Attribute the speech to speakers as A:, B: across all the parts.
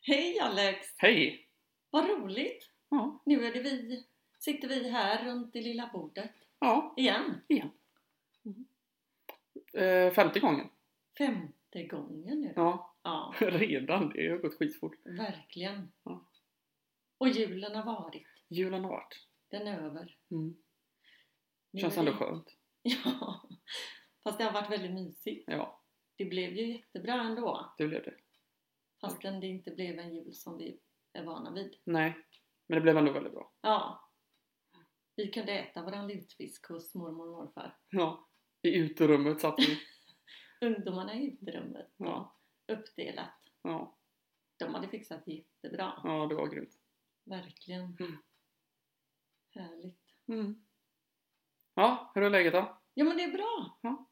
A: Hej Alex!
B: Hej!
A: Vad roligt!
B: Ja,
A: Nu är det vi, sitter vi här runt det lilla bordet
B: ja
A: igen.
B: eh, femte gången.
A: Femte gången nu.
B: Ja,
A: Ja,
B: redan. Det har gått skitfort.
A: verkligen.
B: Ja.
A: Och julen har varit.
B: Julen har varit.
A: Den är över.
B: Mm.
A: Nu
B: Känns
A: är det-
B: ändå skönt.
A: Ja. Fast det har varit väldigt mysigt.
B: Ja,
A: Det blev ju jättebra ändå.
B: det blev det.
A: Fastän det inte blev en jul som vi är vana vid.
B: Nej, men det blev ändå väldigt bra.
A: Ja. Vi kunde äta våran lutfisk hos mormor och morfar.
B: Ja, i uterummet satt vi.
A: Ungdomarna i uterummet.
B: Ja.
A: Uppdelat.
B: Ja,
A: De hade fixat jättebra.
B: ja det var grymt.
A: Verkligen.
B: Mm.
A: Härligt.
B: Mm. Ja, hur är läget då?
A: Ja men det är bra.
B: Ja.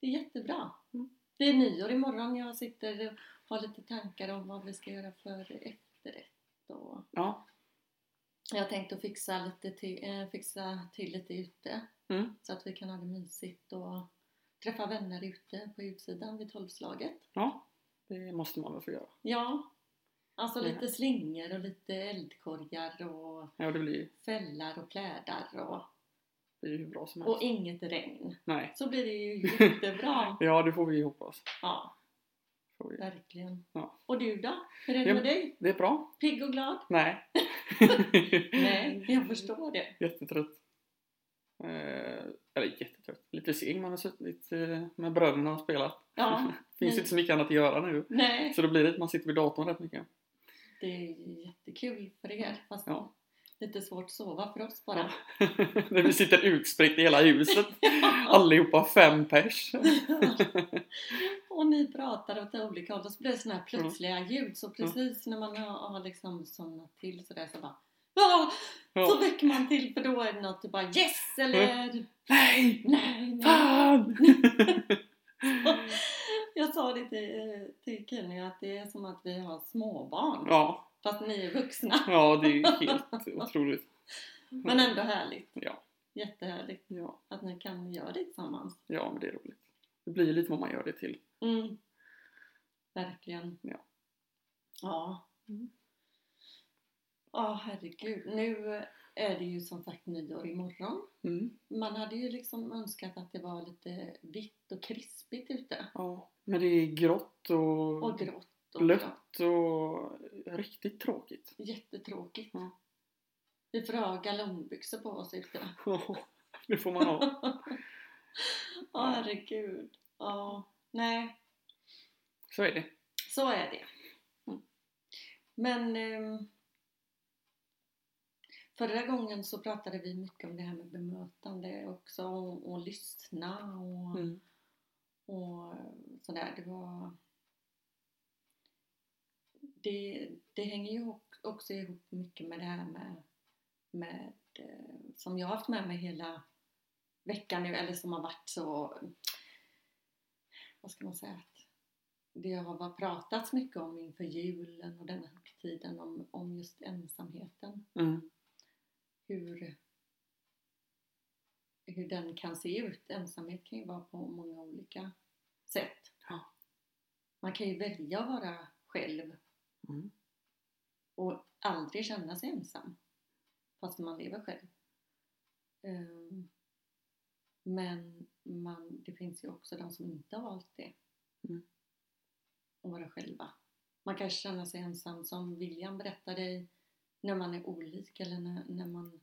A: Det är jättebra.
B: Mm.
A: Det är nyår imorgon. Jag sitter och har lite tankar om vad vi ska göra för efterrätt. Och
B: Ja,
A: jag har tänkt att fixa, lite till, eh, fixa till lite ute.
B: Mm.
A: Så att vi kan ha det mysigt och träffa vänner ute på utsidan vid tolvslaget.
B: ja. Det måste man väl få göra.
A: Ja. Alltså
B: Ja.
A: lite slingor och lite eldkorgar och
B: Ja, det blir
A: fällar och plädar och,
B: det är ju hur bra som helst.
A: och inget regn.
B: Nej.
A: Så blir det ju jättebra.
B: Ja, det får vi hoppas.
A: Ja,
B: Får vi.
A: verkligen.
B: Ja.
A: Och du då? Hur är det
B: Ja,
A: med dig?
B: Det är bra.
A: Pigg och glad?
B: Nej.
A: Nej, jag förstår det.
B: Jättetrött. Eh, eller jättetrött. Lite seg. Man har suttit eh, med bröderna och spelat.
A: Ja,
B: Finns
A: Nej.
B: inte så mycket annat att göra nu.
A: nej.
B: Så då blir det att man sitter vid datorn rätt mycket.
A: Det är ju jättekul för er. Fast
B: Ja.
A: lite svårt att sova för oss bara.
B: När vi sitter utspritt i hela huset. Allihopa fem pers.
A: och ni pratar åt olika håll och så blir det sådana här plötsliga ljud. Så precis när man har, har liksom somnat till så där så bara "Ah!" Så
B: Ja.
A: väcker man till för då är det något du bara yes eller
B: Nej!
A: nej, nej.
B: Fan!
A: Jag sa det till, eh, till Kenny att det är som att vi har småbarn.
B: Ja,
A: Fast ni är vuxna.
B: ja, det är ju helt otroligt.
A: Men ändå härligt.
B: Mm. Ja.
A: Jättehärligt
B: Ja,
A: att ni kan göra det tillsammans.
B: ja, men det är roligt. Det blir ju lite vad man gör det till.
A: Mm. Verkligen.
B: Ja.
A: Ja.
B: Mm.
A: Ja, herregud. Nu är det ju som sagt nyår imorgon.
B: Mm.
A: Man hade ju liksom önskat att det var lite vitt och krispigt ute.
B: Ja. Men det är grått och,
A: Och grått och
B: blött
A: bra.
B: och riktigt tråkigt.
A: Jättetråkigt.
B: Ja.
A: Vi får ha galonbyxor på oss ute.
B: Ja, det får man ha.
A: Ja, herregud. Ja, nej,
B: Så är det.
A: så är det.
B: Mm.
A: Men ehm, förra gången så pratade vi mycket om det här med bemötande också och, och lyssna och,
B: Mm.
A: och sådär. Det var... Det, det hänger ju ock- också ihop mycket med det här med, med eh, som jag har haft med mig hela veckan nu, eller som har varit så, vad ska man säga, att det har varit- pratats mycket om inför julen och denna högtiden om, om just ensamheten.
B: Mm.
A: Hur, hur den kan se ut. Ensamhet kan ju vara på många olika sätt.
B: Ja.
A: Man kan ju välja att vara själv
B: Mm.
A: och aldrig känna sig ensam fast man lever själv. Ehm, Men man, det finns ju också de som inte har valt det.
B: Mm.
A: Att vara själva. Man kanske känner sig ensam som William berättade i- när man är olik eller när, när man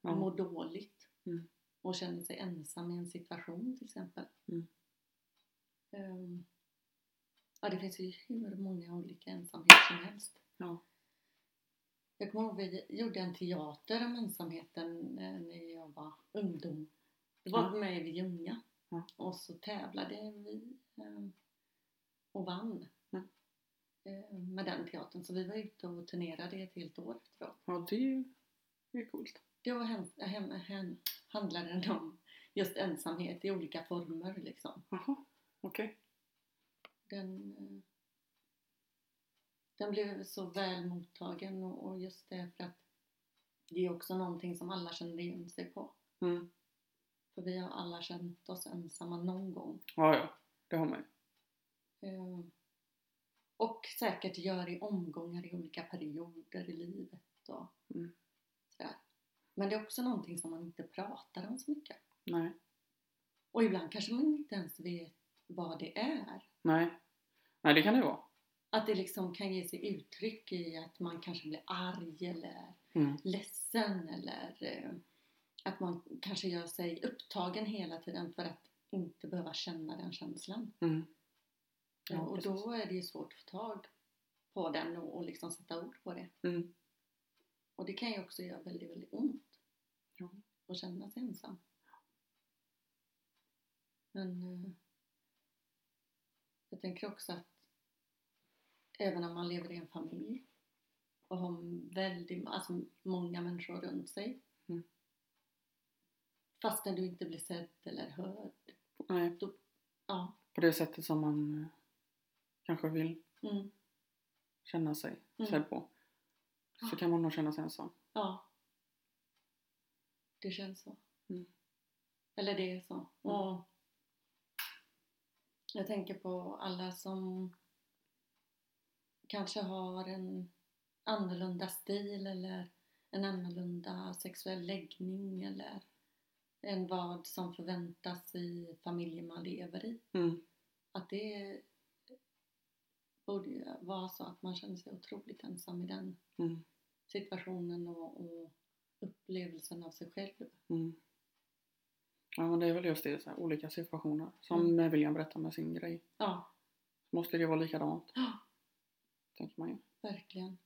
B: Ja.
A: mår dåligt
B: Mm.
A: och känner sig ensam i en situation till exempel.
B: Mm.
A: Ehm, ja, det finns ju hur många olika ensamheter som helst.
B: Ja.
A: Jag kommer ihåg vi gjorde en teater om ensamheten eh, när jag var ungdom. Det var
B: Ja.
A: med i Ljunga
B: Ja.
A: och så tävlade vi eh, och vann
B: Ja.
A: eh, med den teatern. Så vi var ute och turnerade ett helt år efteråt.
B: ja, det är ju det är coolt.
A: Då hem, hem, hem, handlade det om just ensamhet i olika former liksom.
B: Jaha, okej.
A: Den, eh, den blev så väl mottagen och, och just det för att det är också någonting som alla känner igen sig på.
B: Mm.
A: För vi har alla känt oss ensamma någon gång.
B: Ja, ja, det har man ju.
A: Eh, Och säkert gör i omgångar i olika perioder i livet och
B: Mm.
A: sådär. Men det är också någonting som man inte pratar om så mycket.
B: Nej.
A: Och ibland kanske man inte ens vet vad det är.
B: Nej. Nej, det kan det vara.
A: Att det liksom kan ge sig uttryck i att man kanske blir arg eller
B: Mm.
A: ledsen eller eh, att man kanske gör sig upptagen hela tiden för att inte behöva känna den känslan.
B: Mm.
A: Ja, och
B: precis.
A: då är det ju svårt att få tag på den och, och liksom sätta ord på det.
B: Mm.
A: Och det kan ju också göra väldigt, väldigt ont.
B: Ja.
A: Att känna sig ensam. Men eh, jag tänker också att även om man lever i en familj och har väldigt, alltså många människor runt sig
B: Mm.
A: fastän du inte blir sedd eller hörd.
B: Nej,
A: Ja.
B: på det sättet som man eh, kanske vill
A: Mm,
B: känna sig
A: Mm.
B: sedd på. Så
A: Ja.
B: kan man nog känna sig ensam.
A: ja. Det känns så.
B: Mm.
A: Eller det är så. Och jag tänker på alla som kanske har en annorlunda stil eller en annorlunda sexuell läggning eller än vad som förväntas i familjen man lever i.
B: Mm.
A: Att det borde ju vara så att man känner sig otroligt ensam i den
B: Mm.
A: situationen och, och upplevelsen av sig själv.
B: Mm. Ja, men det är väl just det, så här, olika situationer. Som
A: Mm.
B: eh, William berättar med sin grej.
A: Ja,
B: Måste det vara likadant?
A: Ja.
B: Tänker man ju.
A: verkligen.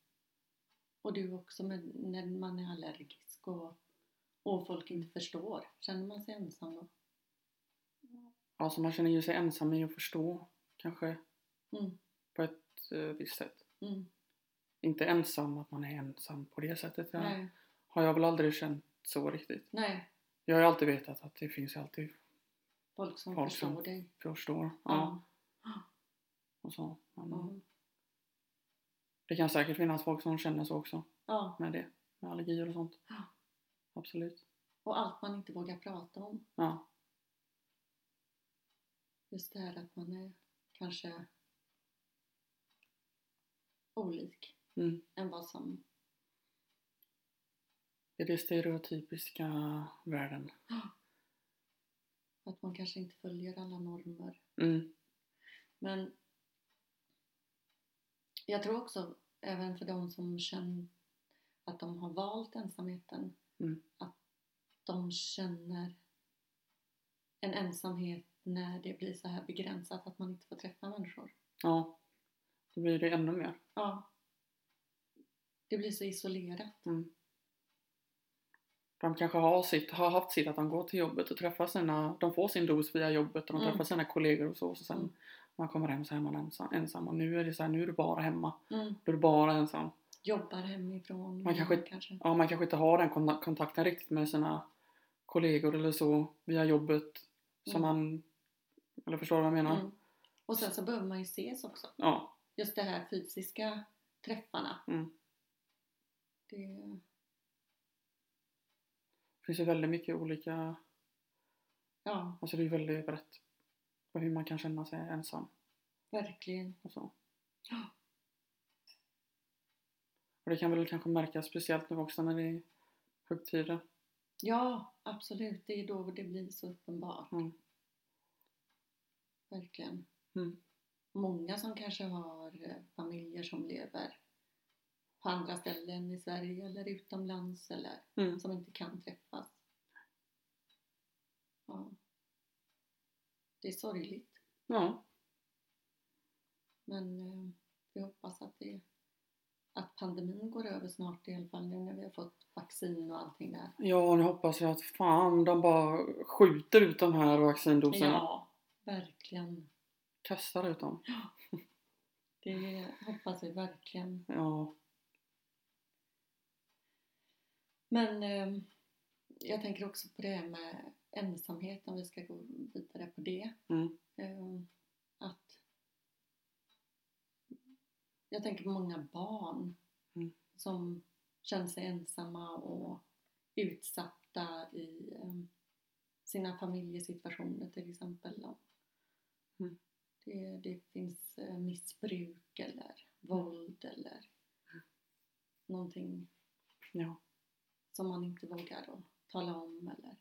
A: Och du också med, när man är allergisk och, och folk inte förstår. Känner man sig ensam då?
B: Alltså man känner ju sig ensam i att förstå kanske
A: Mm,
B: på ett eh, visst sätt.
A: mm,
B: Inte ensam att man är ensam på det sättet. Jag,
A: Nej,
B: Har jag väl aldrig känt så riktigt.
A: nej.
B: Jag har ju alltid vetat att det finns alltid
A: Folk som
B: Folk
A: förstår
B: som-
A: dig.
B: förstår. Ja.
A: Ja. Mm.
B: Och så. Men,
A: Ja.
B: Det kan säkert finnas folk som känner så också
A: ja.
B: med det. Med allergier och sånt.
A: Ja.
B: Absolut.
A: Och allt man inte vågar prata om.
B: Ja.
A: Just det här att man är kanske olik
B: Mm.
A: än vad som...
B: Det är det stereotypiska världen.
A: Att man kanske inte följer alla normer.
B: Mm.
A: Men jag tror också, även för de som känner att de har valt ensamheten,
B: Mm.
A: att de känner en ensamhet när det blir så här begränsat att man inte får träffa människor.
B: Ja. Då blir det ännu mer.
A: Ja. Det blir så isolerat.
B: Mm. De kanske har, sitt, har haft sitt att de går till jobbet och träffar sina, de får sin dos via jobbet och de
A: Mm.
B: träffar sina kollegor och så. Och så sen
A: Mm.
B: man kommer hem så är man ensam, ensam och nu är det så här, nu är du bara hemma.
A: Mm.
B: Då är du bara ensam.
A: Jobbar hemifrån.
B: Man kanske-
A: kanske.
B: Ja, man kanske inte har den kon- kontakten riktigt med sina kollegor eller så via jobbet som
A: Mm.
B: man, eller förstår du vad jag menar?
A: Mm. Och sen så behöver man ju ses också.
B: Ja,
A: Just det här fysiska träffarna.
B: Mm.
A: Det...
B: det finns ju väldigt mycket olika,
A: Ja,
B: alltså det är ju väldigt brett på hur man kan känna sig ensam
A: verkligen.
B: och så.
A: Ja.
B: Och det kan väl kanske märkas speciellt nu också när det är högtider.
A: Ja, absolut. Det är då det blir så uppenbart.
B: Mm.
A: Verkligen.
B: Mm.
A: Många som kanske har eh, familjer som lever på andra ställen i Sverige eller utomlands eller
B: Mm.
A: som inte kan träffas. Ja. Det är sorgligt.
B: Ja,
A: Men eh, vi hoppas att, det, att pandemin går över snart i alla fall nu när vi har fått vaccin och allting där.
B: ja nu hoppas jag att fan de bara skjuter ut de här vaccindoserna.
A: Ja, verkligen.
B: Kastar ut dem.
A: Det hoppas vi verkligen.
B: Ja.
A: Men eh, jag tänker också på det här med ensamhet, om vi ska gå vidare på det.
B: Mm.
A: Eh, att jag tänker på många barn
B: Mm.
A: som känner sig ensamma och utsatta i ehm, eh, sina familjesituationer till exempel.
B: Mm.
A: Det- Det, det finns eh, missbruk eller våld eller
B: Mm.
A: någonting
B: Ja.
A: som man inte vågar att tala om eller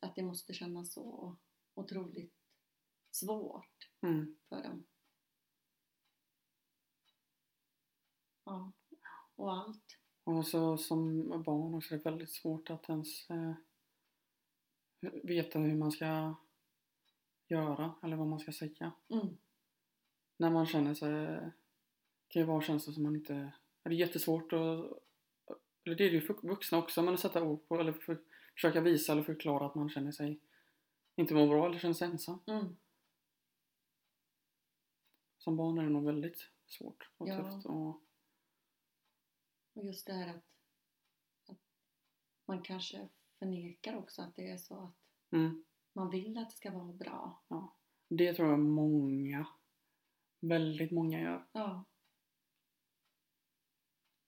A: att det måste kännas så otroligt svårt
B: Mm.
A: för dem. Ja, och allt.
B: Och så som barn också är det väldigt svårt att ens eh, veta hur man ska göra eller vad man ska säga.
A: Mm.
B: När man känner sig... kan ju vara känslor som man inte... ja, Det är jättesvårt att... Eller det är det ju för vuxna också, men att sätta ord på eller för, försöka visa eller förklara att man känner sig inte mår bra eller känner sig ensam.
A: Mm.
B: Som barn är det nog väldigt svårt och
A: Ja.
B: tufft. Och,
A: Och just det här att, att man kanske förnekar också att det är så att
B: mm.
A: man vill att det ska vara bra.
B: Det tror jag många, väldigt många gör.
A: Ja.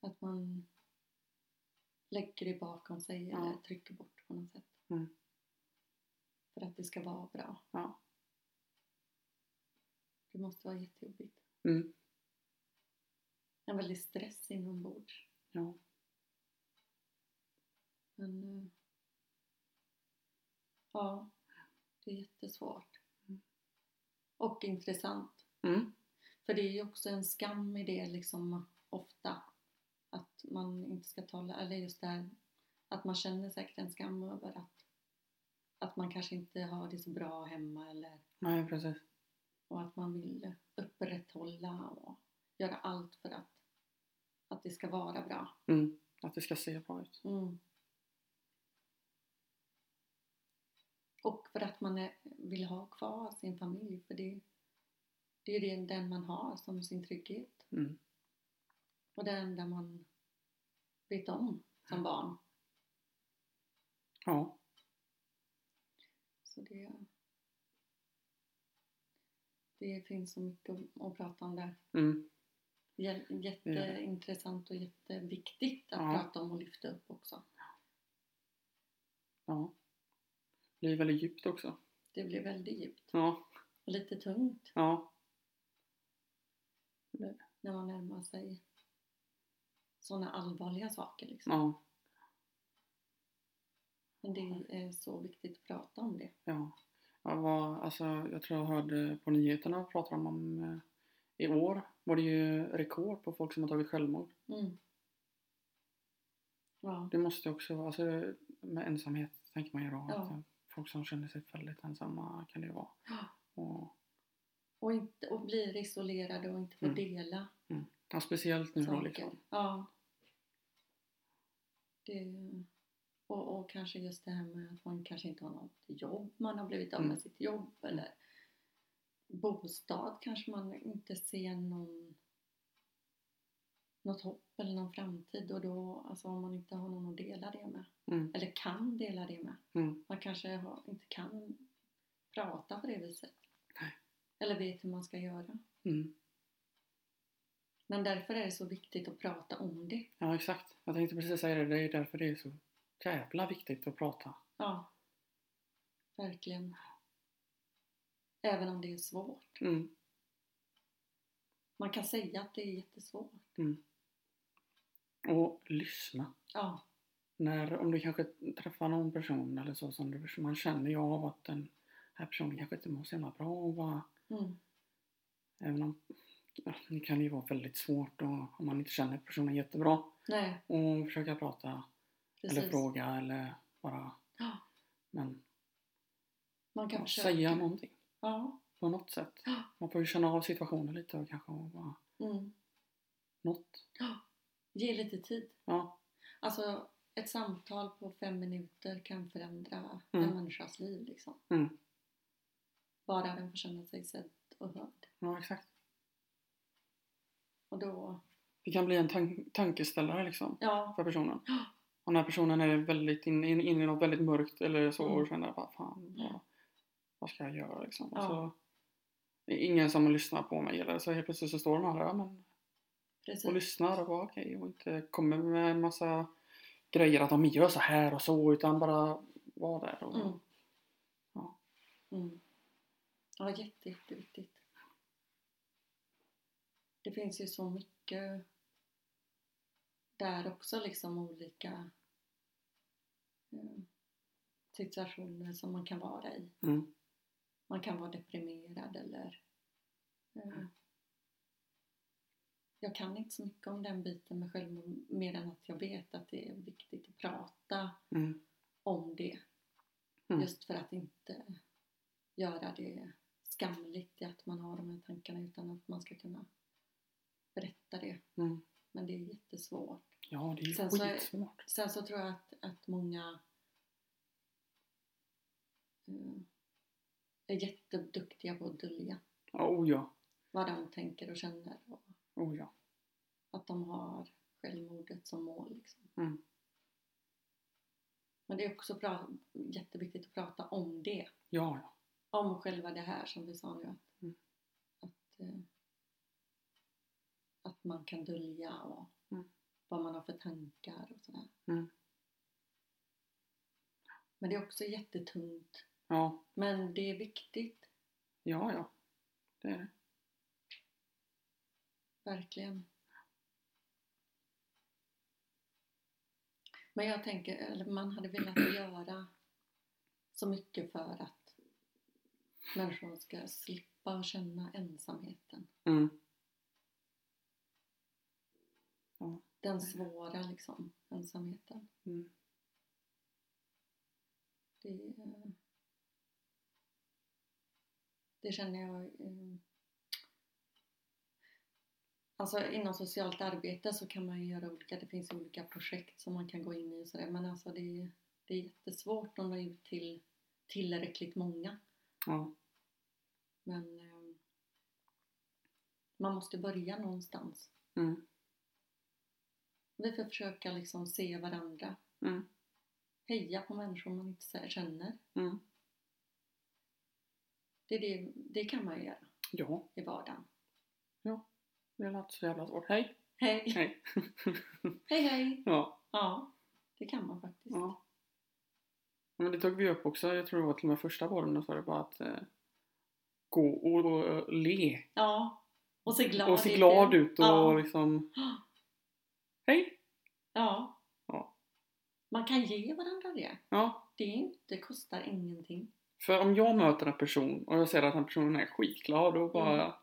A: Att man lägger det bakom sig
B: Ja.
A: eller trycker bort på något sätt.
B: Mm.
A: För att det ska vara bra.
B: Ja.
A: Det måste vara jättejobbigt.
B: Mm.
A: En väldig stress inombords.
B: Ja.
A: Men eh, ja, det är jättesvårt.
B: Mm.
A: Och intressant.
B: Mm.
A: För det är ju också en skam i det liksom ofta. Att man inte ska tala, eller just det här att man känner säkert en skam över att, att man kanske inte har det så bra hemma eller
B: Nej, precis.
A: och att man vill upprätthålla och göra allt för att, att det ska vara bra.
B: Mm. Att det ska se bra ut.
A: Mm. Och för att man är, vill ha kvar sin familj för det, det är ju den- den man har som sin trygghet.
B: Mm.
A: Och det enda man vet om som barn.
B: Ja.
A: Så det, det finns så mycket att- att prata om där.
B: Mm.
A: Jä- Jätteintressant och jätteviktigt att
B: Ja.
A: prata om och lyfta upp också.
B: Ja. Det blir väldigt djupt också.
A: Det blir väldigt djupt
B: Ja.
A: och lite tungt
B: Ja.
A: när man närmar sig sådana allvarliga saker. Liksom.
B: Ja.
A: Men det är så viktigt att prata om det.
B: Ja. Jag, var, alltså, jag tror jag hörde på nyheterna prata om, om eh, i år var det ju rekord på folk som har tagit självmord.
A: Mm. Ja.
B: Det måste ju också vara, alltså, med ensamhet tänker man ju då
A: Ja.
B: att eh, folk som känner sig väldigt ensamma kan det ju vara.
A: Ja.
B: Och,
A: Och, inte, och blir isolerade och inte får
B: Mm.
A: dela
B: ja, speciellt nu då
A: saker.
B: liksom.
A: Ja. Det, och, och kanske just det här med att man kanske inte har något jobb, man har blivit av med
B: Mm.
A: sitt jobb eller bostad kanske man inte ser någon något hopp eller någon framtid och då, alltså om man inte har någon att dela det med
B: Mm.
A: eller kan dela det med.
B: Mm.
A: Man kanske har, inte kan prata på det viset.
B: Nej.
A: Eller vet hur man ska göra.
B: Mm.
A: Men därför är det så viktigt att prata om det.
B: Ja, exakt. Jag tänkte precis säga det. Det är därför det är så jävla viktigt att prata.
A: Ja, verkligen. Även om det är svårt.
B: Mm.
A: Man kan säga att det är jättesvårt.
B: Och lyssna.
A: Ja,
B: När, om du kanske träffar någon person eller så som du, som man känner ju av att den här personen kanske inte mår så jävla bra. Och bara,
A: mm,
B: även om ja, det kan ju vara väldigt svårt och, om man inte känner personen jättebra.
A: nej,
B: Och försöka prata
A: precis.
B: eller fråga eller bara
A: Ja,
B: men,
A: man kan
B: ja,
A: försöka.
B: säga någonting
A: Ja,
B: på något sätt.
A: Ja.
B: Man får ju känna av situationen lite och kanske och bara
A: mm.
B: något.
A: Ge lite tid.
B: Ja,
A: Alltså, ett samtal på fem minuter kan förändra
B: Mm.
A: en människas liv. Liksom.
B: Mm.
A: Bara den får känna sig sedd och hörd.
B: ja exakt.
A: Och då,
B: Det kan bli en tan- tankeställare liksom
A: ja,
B: för personen. Och när personen är väldigt inne in, in i något väldigt mörkt eller så
A: Mm.
B: och känner bara fan
A: Mm.
B: vad, vad ska jag göra liksom. Och
A: Ja.
B: så, det är ingen som lyssnar på mig eller så helt plötsligt så står de alla men, och
A: precis.
B: lyssnar och bara okej och inte kommer med en massa grejer att de gör så här och så utan bara vara där. Och,
A: Mm.
B: Ja.
A: Mm. Ja, jätte, jätteviktigt. Det finns ju så mycket där också liksom olika eh, situationer som man kan vara i.
B: Mm.
A: Man kan vara deprimerad eller eh, jag kan inte så mycket om den biten med självmord mer än att jag vet att det är viktigt att prata
B: Mm.
A: om det.
B: Mm.
A: Just för att inte göra det skamligt i att man har de här tankarna utan att man ska kunna berätta det.
B: Mm.
A: Men det är jättesvårt.
B: Ja, det är ju
A: Sen så är-
B: skitsvårt.
A: Sen så tror jag att, att många eh, är jätteduktiga på att dölja
B: Ja, oh ja.
A: vad de tänker och känner och
B: Oh ja.
A: att de har självmordet som mål. Liksom.
B: Mm.
A: Men det är också bra, jätteviktigt att prata om det.
B: Ja, ja.
A: om själva det här som vi sa nu att,
B: Mm.
A: att, eh, att man kan dölja och
B: Mm.
A: vad man har för tankar och sådär.
B: Mm.
A: Men det är också jättetungt.
B: Ja,
A: Men det är viktigt,
B: ja. ja. Det är det.
A: verkligen. Men jag tänker, eller man hade velat göra så mycket för att människor ska slippa känna ensamheten.
B: Mm.
A: den svåra liksom, ensamheten.
B: Mm.
A: Det, eh, det känner jag... eh, Alltså inom socialt arbete så kan man ju göra olika, det finns olika projekt som man kan gå in i och sådär men alltså det, är- det är jättesvårt att nå ut till tillräckligt många.
B: Ja.
A: Men eh, man måste börja någonstans.
B: Mm.
A: Vi får försöka liksom se varandra,
B: Mm.
A: heja på människor man inte så- känner.
B: Mm.
A: Det, är det, det kan man ju göra
B: Ja,
A: i vardagen.
B: det lät så jävla svårt. Hej!
A: Hej!
B: Hej!
A: Hej hej!
B: ja.
A: Ja, det kan man faktiskt.
B: ja. Men det tog vi upp också, jag tror det var till och med första podden då sa det bara att eh, gå och, och, eh, le.
A: Ja, och se glad
B: och se
A: ut.
B: glad ut och
A: Ja.
B: liksom... Hej!
A: Ja.
B: Ja.
A: Man kan ge varandra det.
B: Ja,
A: Det, är inte, det kostar ingenting.
B: För om jag möter en person och jag ser att den personen är skitglad och bara
A: Mm.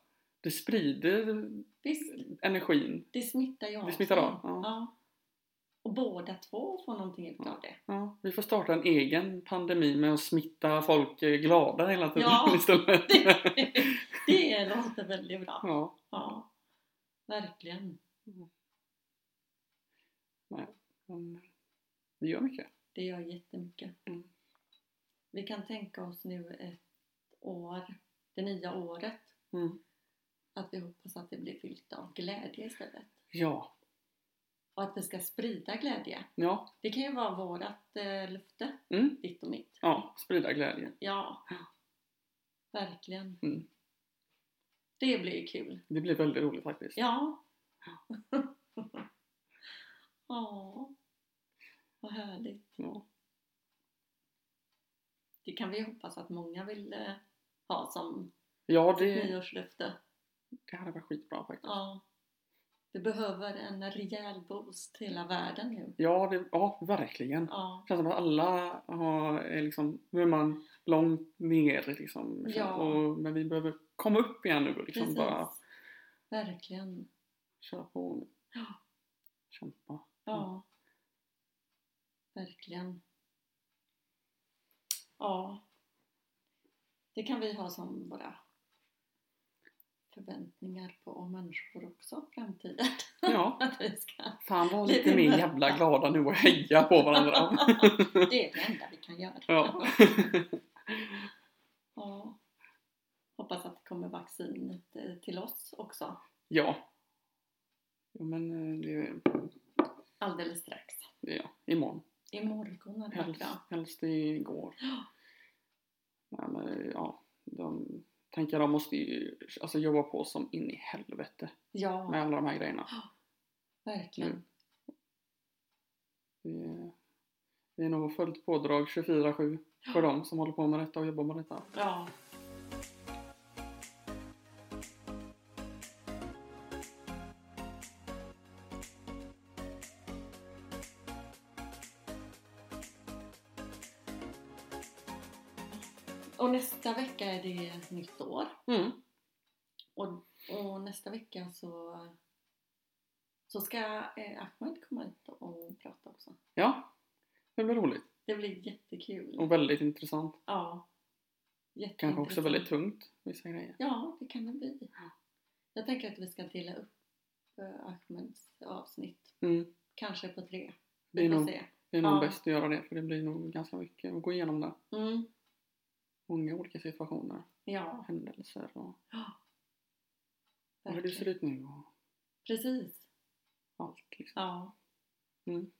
B: Det sprider
A: Visst,
B: energin.
A: det smittar ju av
B: Det smittar
A: sig.
B: av, ja.
A: Och båda två får någonting utav
B: Ja.
A: det.
B: Ja, vi får starta en egen pandemi med att smitta folk eh, glada hela tiden
A: Ja.
B: istället.
A: det låter väldigt bra.
B: ja.
A: Ja, verkligen.
B: men Det gör mycket.
A: Det gör jättemycket.
B: Mm.
A: Vi kan tänka oss nu ett år, det nya året,
B: Mm.
A: att vi hoppas att det blir fyllt av glädje istället.
B: Ja.
A: Och att vi ska sprida glädje.
B: Ja.
A: Det kan ju vara vårat eh, löfte,
B: Mm.
A: ditt och mitt.
B: Ja, sprida glädje.
A: Ja, verkligen.
B: Mm.
A: Det blir ju kul.
B: Det blir väldigt roligt faktiskt.
A: Ja. Ja, vad härligt.
B: Ja.
A: Det kan vi hoppas att många vill eh, ha som
B: Ja,
A: Mm.
B: det,
A: nyårslöfte.
B: det hade varit skitbra faktiskt.
A: Ja. Vi behöver en rejäl boost i hela världen nu.
B: Ja, det, ja verkligen.
A: Ja.
B: Det känns som att alla har, är liksom, nu är man långt ner liksom.
A: Ja.
B: Och, men vi behöver komma upp igen nu och liksom
A: Precis.
B: bara
A: Verkligen.
B: köra på.
A: Ja.
B: Kämpa. Mm.
A: Ja. Verkligen. Ja. Det kan vi ha som våra förväntningar på människor också i framtiden.
B: Ja,
A: Att vi ska.
B: fan var
A: Lite
B: lite mer
A: möta.
B: jävla glada nu och heja på varandra.
A: Det är det enda vi kan göra.
B: Ja.
A: Ja. Hoppas att det kommer vaccinet eh, till oss också.
B: ja. Ja men eh, det,
A: Alldeles strax.
B: det ja, imorgon.
A: Imorgon hade varit
B: Helst,
A: bra.
B: helst igår. Ja, men, ja, de tänker de måste ju alltså, jobba på som in i helvete
A: Ja,
B: med alla de här grejerna.
A: verkligen.
B: Vi är, vi är nog fullt pådrag 24-7 för dem som håller på med detta och jobbar med detta.
A: Ja. Och nästa vecka är det ett nytt år.
B: Mm.
A: Och, och nästa vecka så, så ska eh, Ahmed komma hit och prata också.
B: Ja, det blir roligt.
A: Det blir jättekul.
B: Och väldigt intressant.
A: Ja.
B: Kanske också
A: Jätteintressant.
B: väldigt tungt, vissa grejer.
A: Ja, det kan det bli. Jag tänker att vi ska dela upp eh, Ahmeds avsnitt.
B: Mm.
A: Kanske på tre.
B: Det är
A: får
B: nog,
A: se.
B: det är nog
A: Ja.
B: bäst att göra det, för det blir nog ganska mycket att gå igenom där.
A: Mm.
B: Många olika situationer,
A: Ja,
B: händelser och, och hur det ser
A: verkligen.
B: ut nu och
A: Precis.
B: allt. Liksom.
A: Ja.
B: Mm.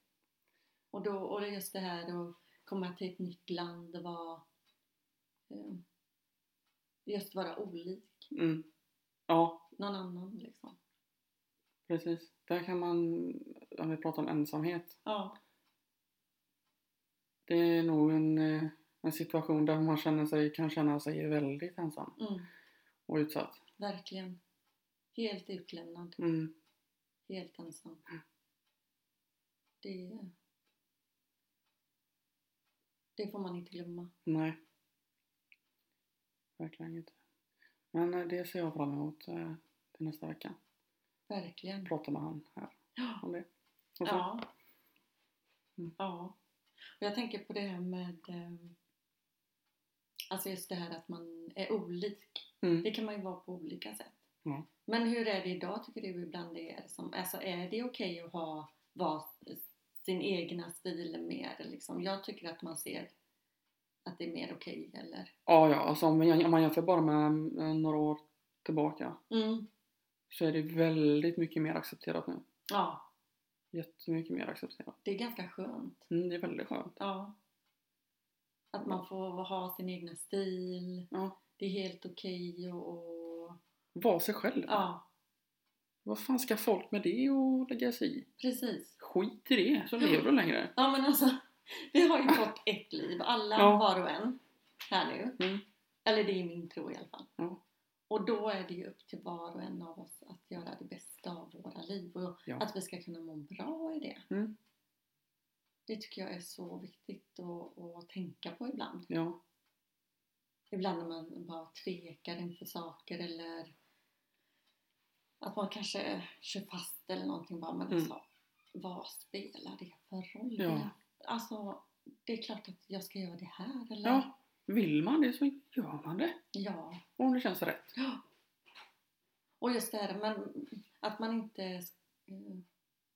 A: Och, då, och det är just det här att komma till ett nytt land och vara... Eh, just vara olik
B: Mm. Ja,
A: någon annan liksom.
B: precis. Där kan man, om vi pratar om ensamhet,
A: Ja.
B: det är nog en, eh, en situation där man känner sig, kan känna sig väldigt ensam
A: Mm.
B: och utsatt.
A: Verkligen. Helt utlämnad.
B: Mm.
A: Helt ensam. Det, det får man inte glömma.
B: Nej. Verkligen inte. Men eh, det ser jag fram emot eh, till nästa vecka.
A: Verkligen.
B: Prata med han här
A: Ja.
B: om det. Och så,
A: Ja.
B: Mm.
A: ja. Och jag tänker på det här med ehm, Alltså just det här att man är olik.
B: Mm.
A: Det kan man ju vara på olika sätt.
B: Ja.
A: Men hur är det idag tycker du ibland det är som, alltså är det okej att ha vara sin egna stil mer liksom? Jag tycker att man ser att det är mer okej eller?
B: ja, ja, alltså om man, om man jämför bara med eh, några år tillbaka
A: Mm.
B: så är det väldigt mycket mer accepterat nu.
A: Ja,
B: Jättemycket mer accepterat.
A: det är ganska skönt.
B: Mm, det är väldigt skönt.
A: Ja. Att man får ha sin egna stil.
B: Ja.
A: Det är helt okej och, och
B: Var sig själv.
A: ja,
B: Vad fan ska folk med det och lägga sig i?
A: precis.
B: Skit i det, så lever du längre.
A: Ja men alltså, vi har ju fått ett liv, alla
B: Ja.
A: var och en här nu.
B: Mm.
A: Eller det är min tro i alla fall.
B: Ja.
A: Och då är det ju upp till var och en av oss att göra det bästa av våra liv och
B: Ja.
A: att vi ska kunna må bra i det.
B: Mm.
A: Det tycker jag är så viktigt att, att tänka på ibland.
B: Ja,
A: Ibland när man bara tvekar inför saker eller att man kanske kör fast eller någonting bara men
B: Mm.
A: alltså vad spelar det för roll?
B: Ja.
A: Alltså det är klart att jag ska göra det här eller?
B: ja. Vill man det så gör man det.
A: ja.
B: Om det känns rätt.
A: Ja. Och just det här men att man inte eh,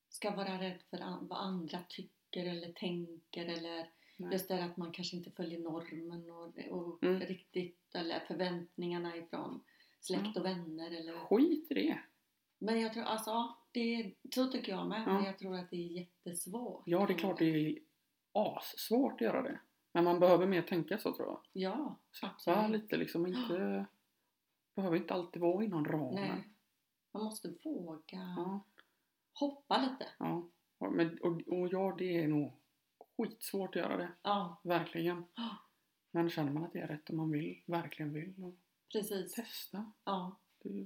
A: ska vara rädd för an- vad andra tycker eller tänker eller
B: Nej.
A: just det här att man kanske inte följer normen och, och
B: Mm.
A: riktigt eller förväntningarna ifrån
B: Mm.
A: släkt och vänner eller
B: Skit i det.
A: men jag tror alltså ja, det, så tycker jag med
B: Ja.
A: men jag tror att det är jättesvårt
B: Ja, det är klart det är assvårt att göra det. Men man behöver mer tänka så tror jag.
A: ja
B: Släppa
A: Absolut.
B: lite liksom. Inte, behöver inte alltid vara inom ramen.
A: nej man måste våga
B: Ja,
A: hoppa lite
B: ja. Och- Men, och, och ja, det är nog skitsvårt att göra det.
A: ja
B: Verkligen.
A: Ja.
B: Men känner man att det är rätt och man vill, verkligen vill och
A: precis
B: testa.
A: ja
B: Det,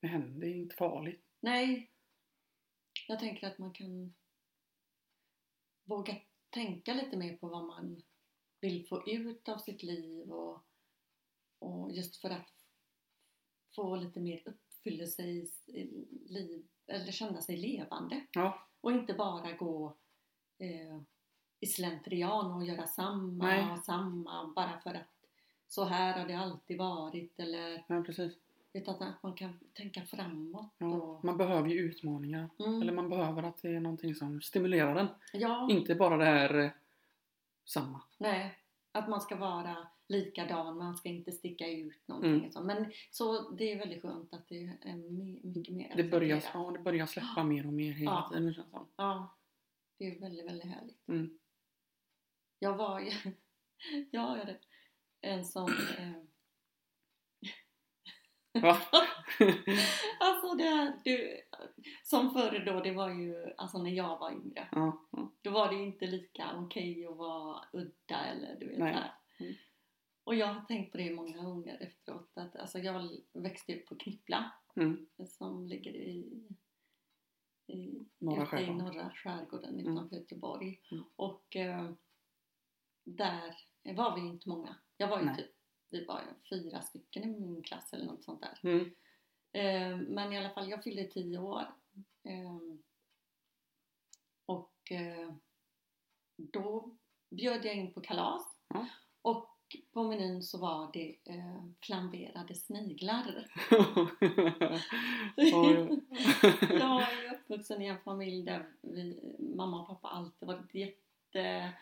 B: det händer, det är inte farligt.
A: Nej. Jag tänker att man kan våga tänka lite mer på vad man vill få ut av sitt liv och, och just för att få lite mer uppfyllelse i s- i liv eller känna sig levande
B: Ja,
A: och inte bara gå eh, i slentrian och göra samma
B: Nej.
A: och samma bara för att så här har det alltid varit eller
B: ja precis.
A: utan att man kan tänka framåt
B: Ja.
A: och
B: Man behöver ju utmaningar.
A: Mm.
B: Eller man behöver att det är någonting som stimulerar den.
A: Ja,
B: Inte bara det här eh, samma.
A: nej. Att man ska vara likadan, man ska inte sticka ut någonting.
B: Mm.
A: och så. Men så det är väldigt skönt att det är my- mycket mer
B: Det börjar,
A: accepterat.
B: ja, det börjar släppa mer och mer hela
A: Alltså, Ja.
B: tiden känns det som.
A: Ja, det är väldigt, väldigt härligt.
B: Mm.
A: Jag var ju... Jag har en sån... Eh,
B: Va?
A: alltså det här, du, Som förr då, det var ju... Alltså när jag var yngre.
B: ja, ja.
A: Då var det ju inte lika okej att vara udda eller du vet
B: Nej.
A: såhär.
B: Mm.
A: Och jag har tänkt på det många gånger efteråt att alltså jag växte upp på Knippla
B: Mm.
A: som ligger i, i, ute
B: Norra
A: i
B: skärgården.
A: norra skärgården
B: Mm.
A: utanför Göteborg.
B: Mm.
A: Och eh, där var vi inte många. Jag var ju
B: Nej.
A: typ vi var ju fyra stycken i min klass eller något sånt där.
B: Mm.
A: Eh, men i alla fall, jag fyllde tio år. Eh, och eh, då bjöd jag in på kalas.
B: Ja.
A: Och på menyn så var det eh, flamberade sniglar.
B: Oj.
A: Jag är uppvuxen i en familj där vi, mamma och pappa alltid varit jätte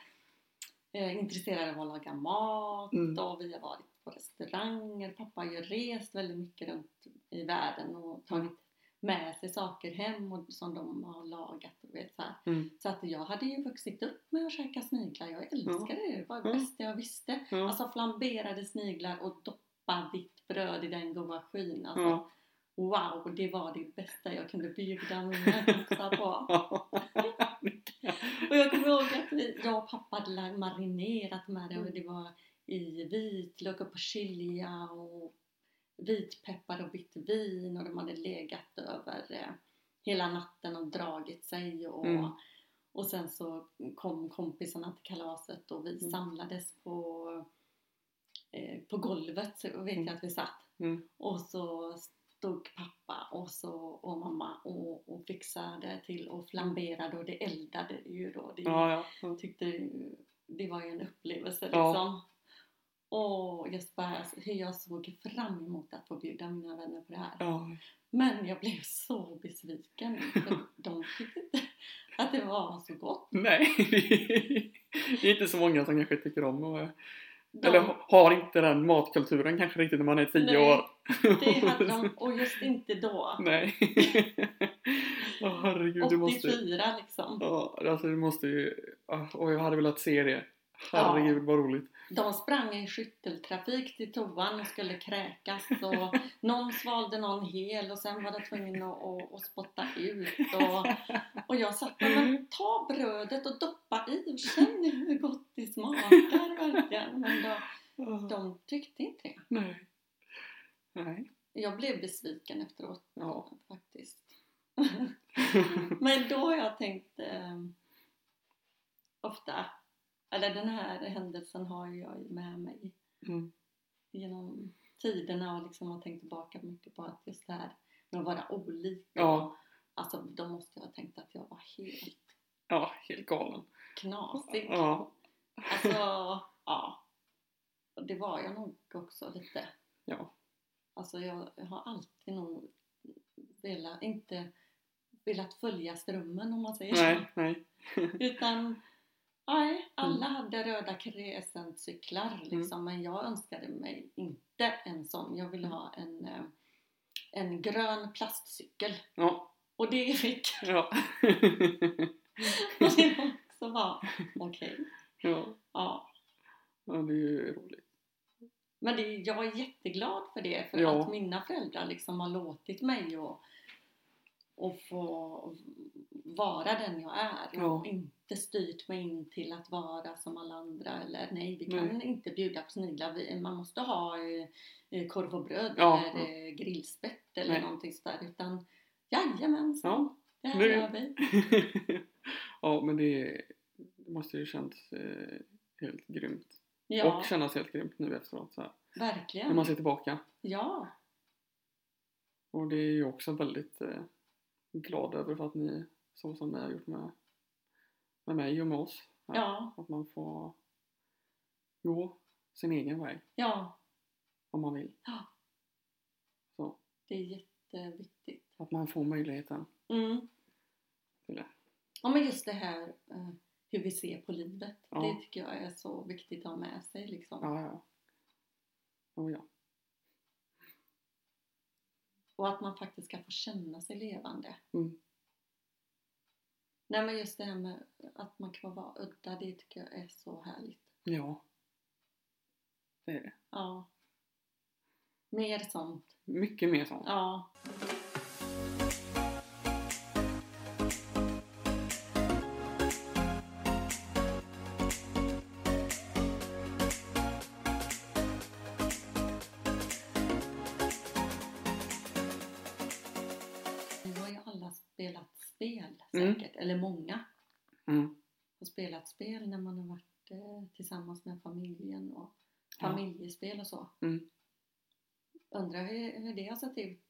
A: eh, intresserade av att laga mat
B: Mm.
A: och vi har varit på restauranger. Pappa har ju rest väldigt mycket runt i världen och tagit med sig saker hem och, som de har lagat. Och vet, så här.
B: Mm.
A: så att jag hade ju vuxit upp med att käka sniglar. Jag älskade det. Det var det
B: Mm.
A: bästa jag visste.
B: Ja.
A: Alltså flamberade sniglar och doppa vitt bröd i den goda skyn. Alltså,
B: Ja.
A: Wow, det var det bästa jag kunde bjuda mina kompisar på. Och jag kommer ihåg att vi, jag och pappa hade la- marinerat med det och
B: Mm.
A: det var i vitlök och persilja och vitpeppar och vitt vin och de hade legat över eh, hela natten och dragit sig och,
B: Mm.
A: och sen så kom kompisarna till kalaset och vi
B: Mm.
A: samlades på, eh, på golvet så vet jag att vi satt
B: Mm.
A: och så stod pappa och, så, och mamma och, och fixade till och flamberade och det eldade ju då. Det,
B: Ja, ja. ja.
A: Jag tyckte det var ju en upplevelse
B: Ja.
A: liksom. Och just bara alltså, hur jag såg fram emot att få bjuda mina vänner på det här.
B: ja.
A: Men jag blev så besviken för de tyckte inte att det var så gott.
B: Nej, det är inte så många som kanske tycker om och,
A: De,
B: eller har inte den matkulturen kanske riktigt när man är tio
A: Nej,
B: år.
A: det hade de, och just inte då.
B: Nej. Åh herregud,
A: 84
B: du måste...
A: liksom.
B: Ja, alltså du måste ju... ah, Åh, jag hade velat se det. Herregud, vad roligt.
A: De sprang i skytteltrafik till toan och skulle kräkas och någon svalde någon hel och sen var det tvungen att, att, att spotta ut och, och jag satt där, men ta brödet och doppa i och känn hur gott det smakar verkligen. Men då,
B: Ah,
A: de tyckte inte det.
B: Nej. Nej.
A: Jag blev besviken efteråt
B: Ja.
A: faktiskt. Men då har jag tänkt eh, ofta, eller den här händelsen har ju jag med mig
B: Mm.
A: genom tiderna och liksom har tänkt tillbaka mycket på att just det här med att vara olik.
B: Ja.
A: Alltså då måste jag ha tänkt att jag var helt
B: Ja, helt galen.
A: knasig.
B: Ja.
A: Alltså, ja. Och Det var jag nog också lite.
B: Ja.
A: Alltså jag har alltid nog velat, inte velat följa strömmen om man säger
B: Nej, nej.
A: så. Utan nej, alla hade röda crescentcyklar liksom. Men jag önskade mig inte en sån. Jag ville ha en, eh, en grön plastcykel.
B: Ja.
A: Och det fick jag.
B: Ja.
A: Och det var också bara okej.
B: ja.
A: Ja.
B: Ja, det är ju roligt.
A: Men det, jag är jätteglad för det, för
B: Ja.
A: att mina föräldrar liksom har låtit mig och, och få vara den jag är
B: Ja.
A: och inte styrt mig in till att vara som alla andra eller nej, vi kan inte bjuda på sniglar, vi, man måste ha eh, eh, korv och bröd
B: Ja,
A: eller eh, grillspett eller
B: Nej.
A: någonting sådär utan jajamensan,
B: Ja.
A: det här
B: Nu-
A: gör vi.
B: ja, men det måste ju känns eh, helt grymt.
A: Ja, Mm.
B: Och kännas helt grymt nu efteråt. Så här. När
A: verkligen.
B: man ser tillbaka.
A: Ja,
B: Och det är ju också väldigt eh, glad över för att ni, så som ni har gjort med, med mig och med oss. här.
A: ja,
B: Att man får gå sin egen väg
A: ja,
B: om man vill.
A: Ja.
B: Så,
A: det är jätteviktigt.
B: att man får möjligheten
A: Mm.
B: till det.
A: Ja men just det här eh, hur vi ser på livet.
B: Ja.
A: Det tycker jag är så viktigt att ha med sig liksom.
B: Ja, ja. Oh, ja.
A: Och att man faktiskt ska få känna sig levande.
B: Mm.
A: Nej men just det här med att man kan vara udda, det tycker jag är så härligt.
B: ja. Det är det.
A: Ja. Mer sånt.
B: Mycket mer sånt.
A: Ja. Nu har ju alla spelat spel
B: Mm.
A: säkert, eller många
B: Mm.
A: har spelat spel när man har varit eh, tillsammans med familjen och
B: Ja.
A: familjespel och så.
B: Mm.
A: Undrar hur, hur det har sett ut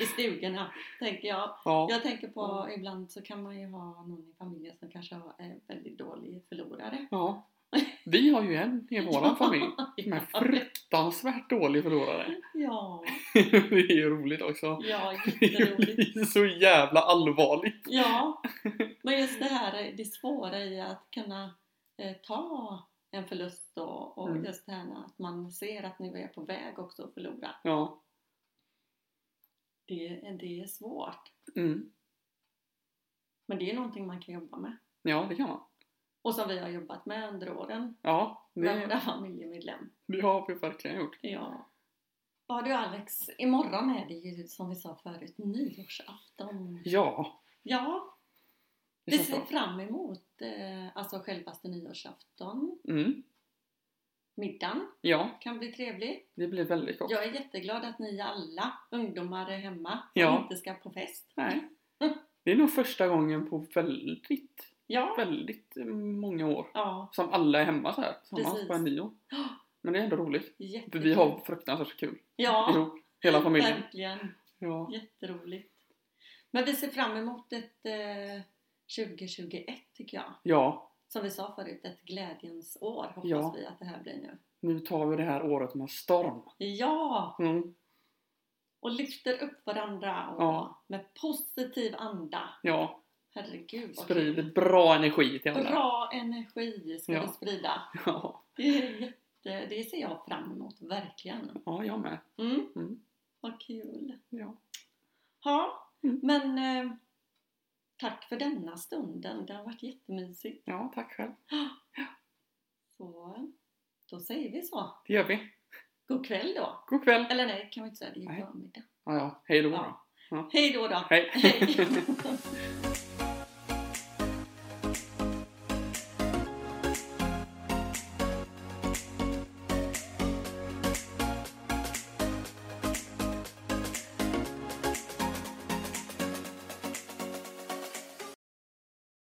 A: i stugorna, tänker jag.
B: Ja.
A: Jag tänker på ibland så kan man ju ha någon i familjen som kanske har- är väldigt dålig förlorare.
B: ja. Vi har ju en i våran familj som är
A: ja,
B: fruktansvärt dålig förlorare.
A: ja,
B: Det är ju roligt också.
A: ja,
B: Det
A: jätteroligt.
B: är ju så jävla allvarligt.
A: Ja, men just det här det svåra i att kunna eh, ta en förlust och, och
B: Mm.
A: just det här med att man ser att nu är jag på väg också att förlora.
B: Ja.
A: Det, är- det är svårt.
B: Mm.
A: Men det är någonting man kan jobba med.
B: Ja, det kan man.
A: Och som vi har jobbat med under åren
B: Ja,
A: med
B: det,
A: våra familjemedlem.
B: det har vi verkligen gjort.
A: Ja. ja du Alex, imorgon är det ju som vi sa förut nyårsafton.
B: Ja.
A: Ja,
B: Det
A: vi
B: känns
A: ser
B: bra.
A: fram emot eh, alltså självaste nyårsafton.
B: Mm.
A: Middagen
B: Ja,
A: kan bli trevlig.
B: det blir väldigt gott.
A: Jag är jätteglad att ni alla ungdomar är hemma och
B: Ja.
A: inte ska på fest.
B: Nej. Det är nog första gången på väldigt,
A: Ja,
B: väldigt många år
A: ja
B: som alla är hemma så här tillsammans
A: Precis.
B: på en nio. Men det är ändå roligt. För
A: jättekul.
B: vi har fruktansvärt kul
A: ja,
B: ihop, hela familjen.
A: verkligen.
B: Ja.
A: Jätteroligt. Men vi ser fram emot ett eh, 2021 tycker jag.
B: ja,
A: Som vi sa förut, ett glädjens år hoppas
B: Ja.
A: vi att det här blir nu.
B: nu tar vi det här året med storm.
A: Ja!
B: Mm.
A: Och lyfter upp varandra och
B: Ja.
A: med positiv anda.
B: Ja,
A: Herregud vad
B: sprider
A: kul.
B: bra energi till alla.
A: Bra energi ska
B: Ja.
A: vi sprida.
B: Ja,
A: Det, är jätte, det ser jag fram emot, verkligen.
B: ja jag med.
A: Mm.
B: Mm.
A: Vad kul.
B: Ja.
A: Ja,
B: Mm.
A: men eh, tack för denna stunden. Det har varit jättemysigt.
B: ja, tack själv.
A: Så då säger vi så.
B: Det gör vi.
A: God kväll då.
B: God kväll.
A: Eller nej, kan vi inte säga. Det är ju
B: Nej.
A: förmiddag.
B: Ja, ja. Hej då.
A: Ja.
B: Ja.
A: Hej då då.
B: Hej.
A: Hej.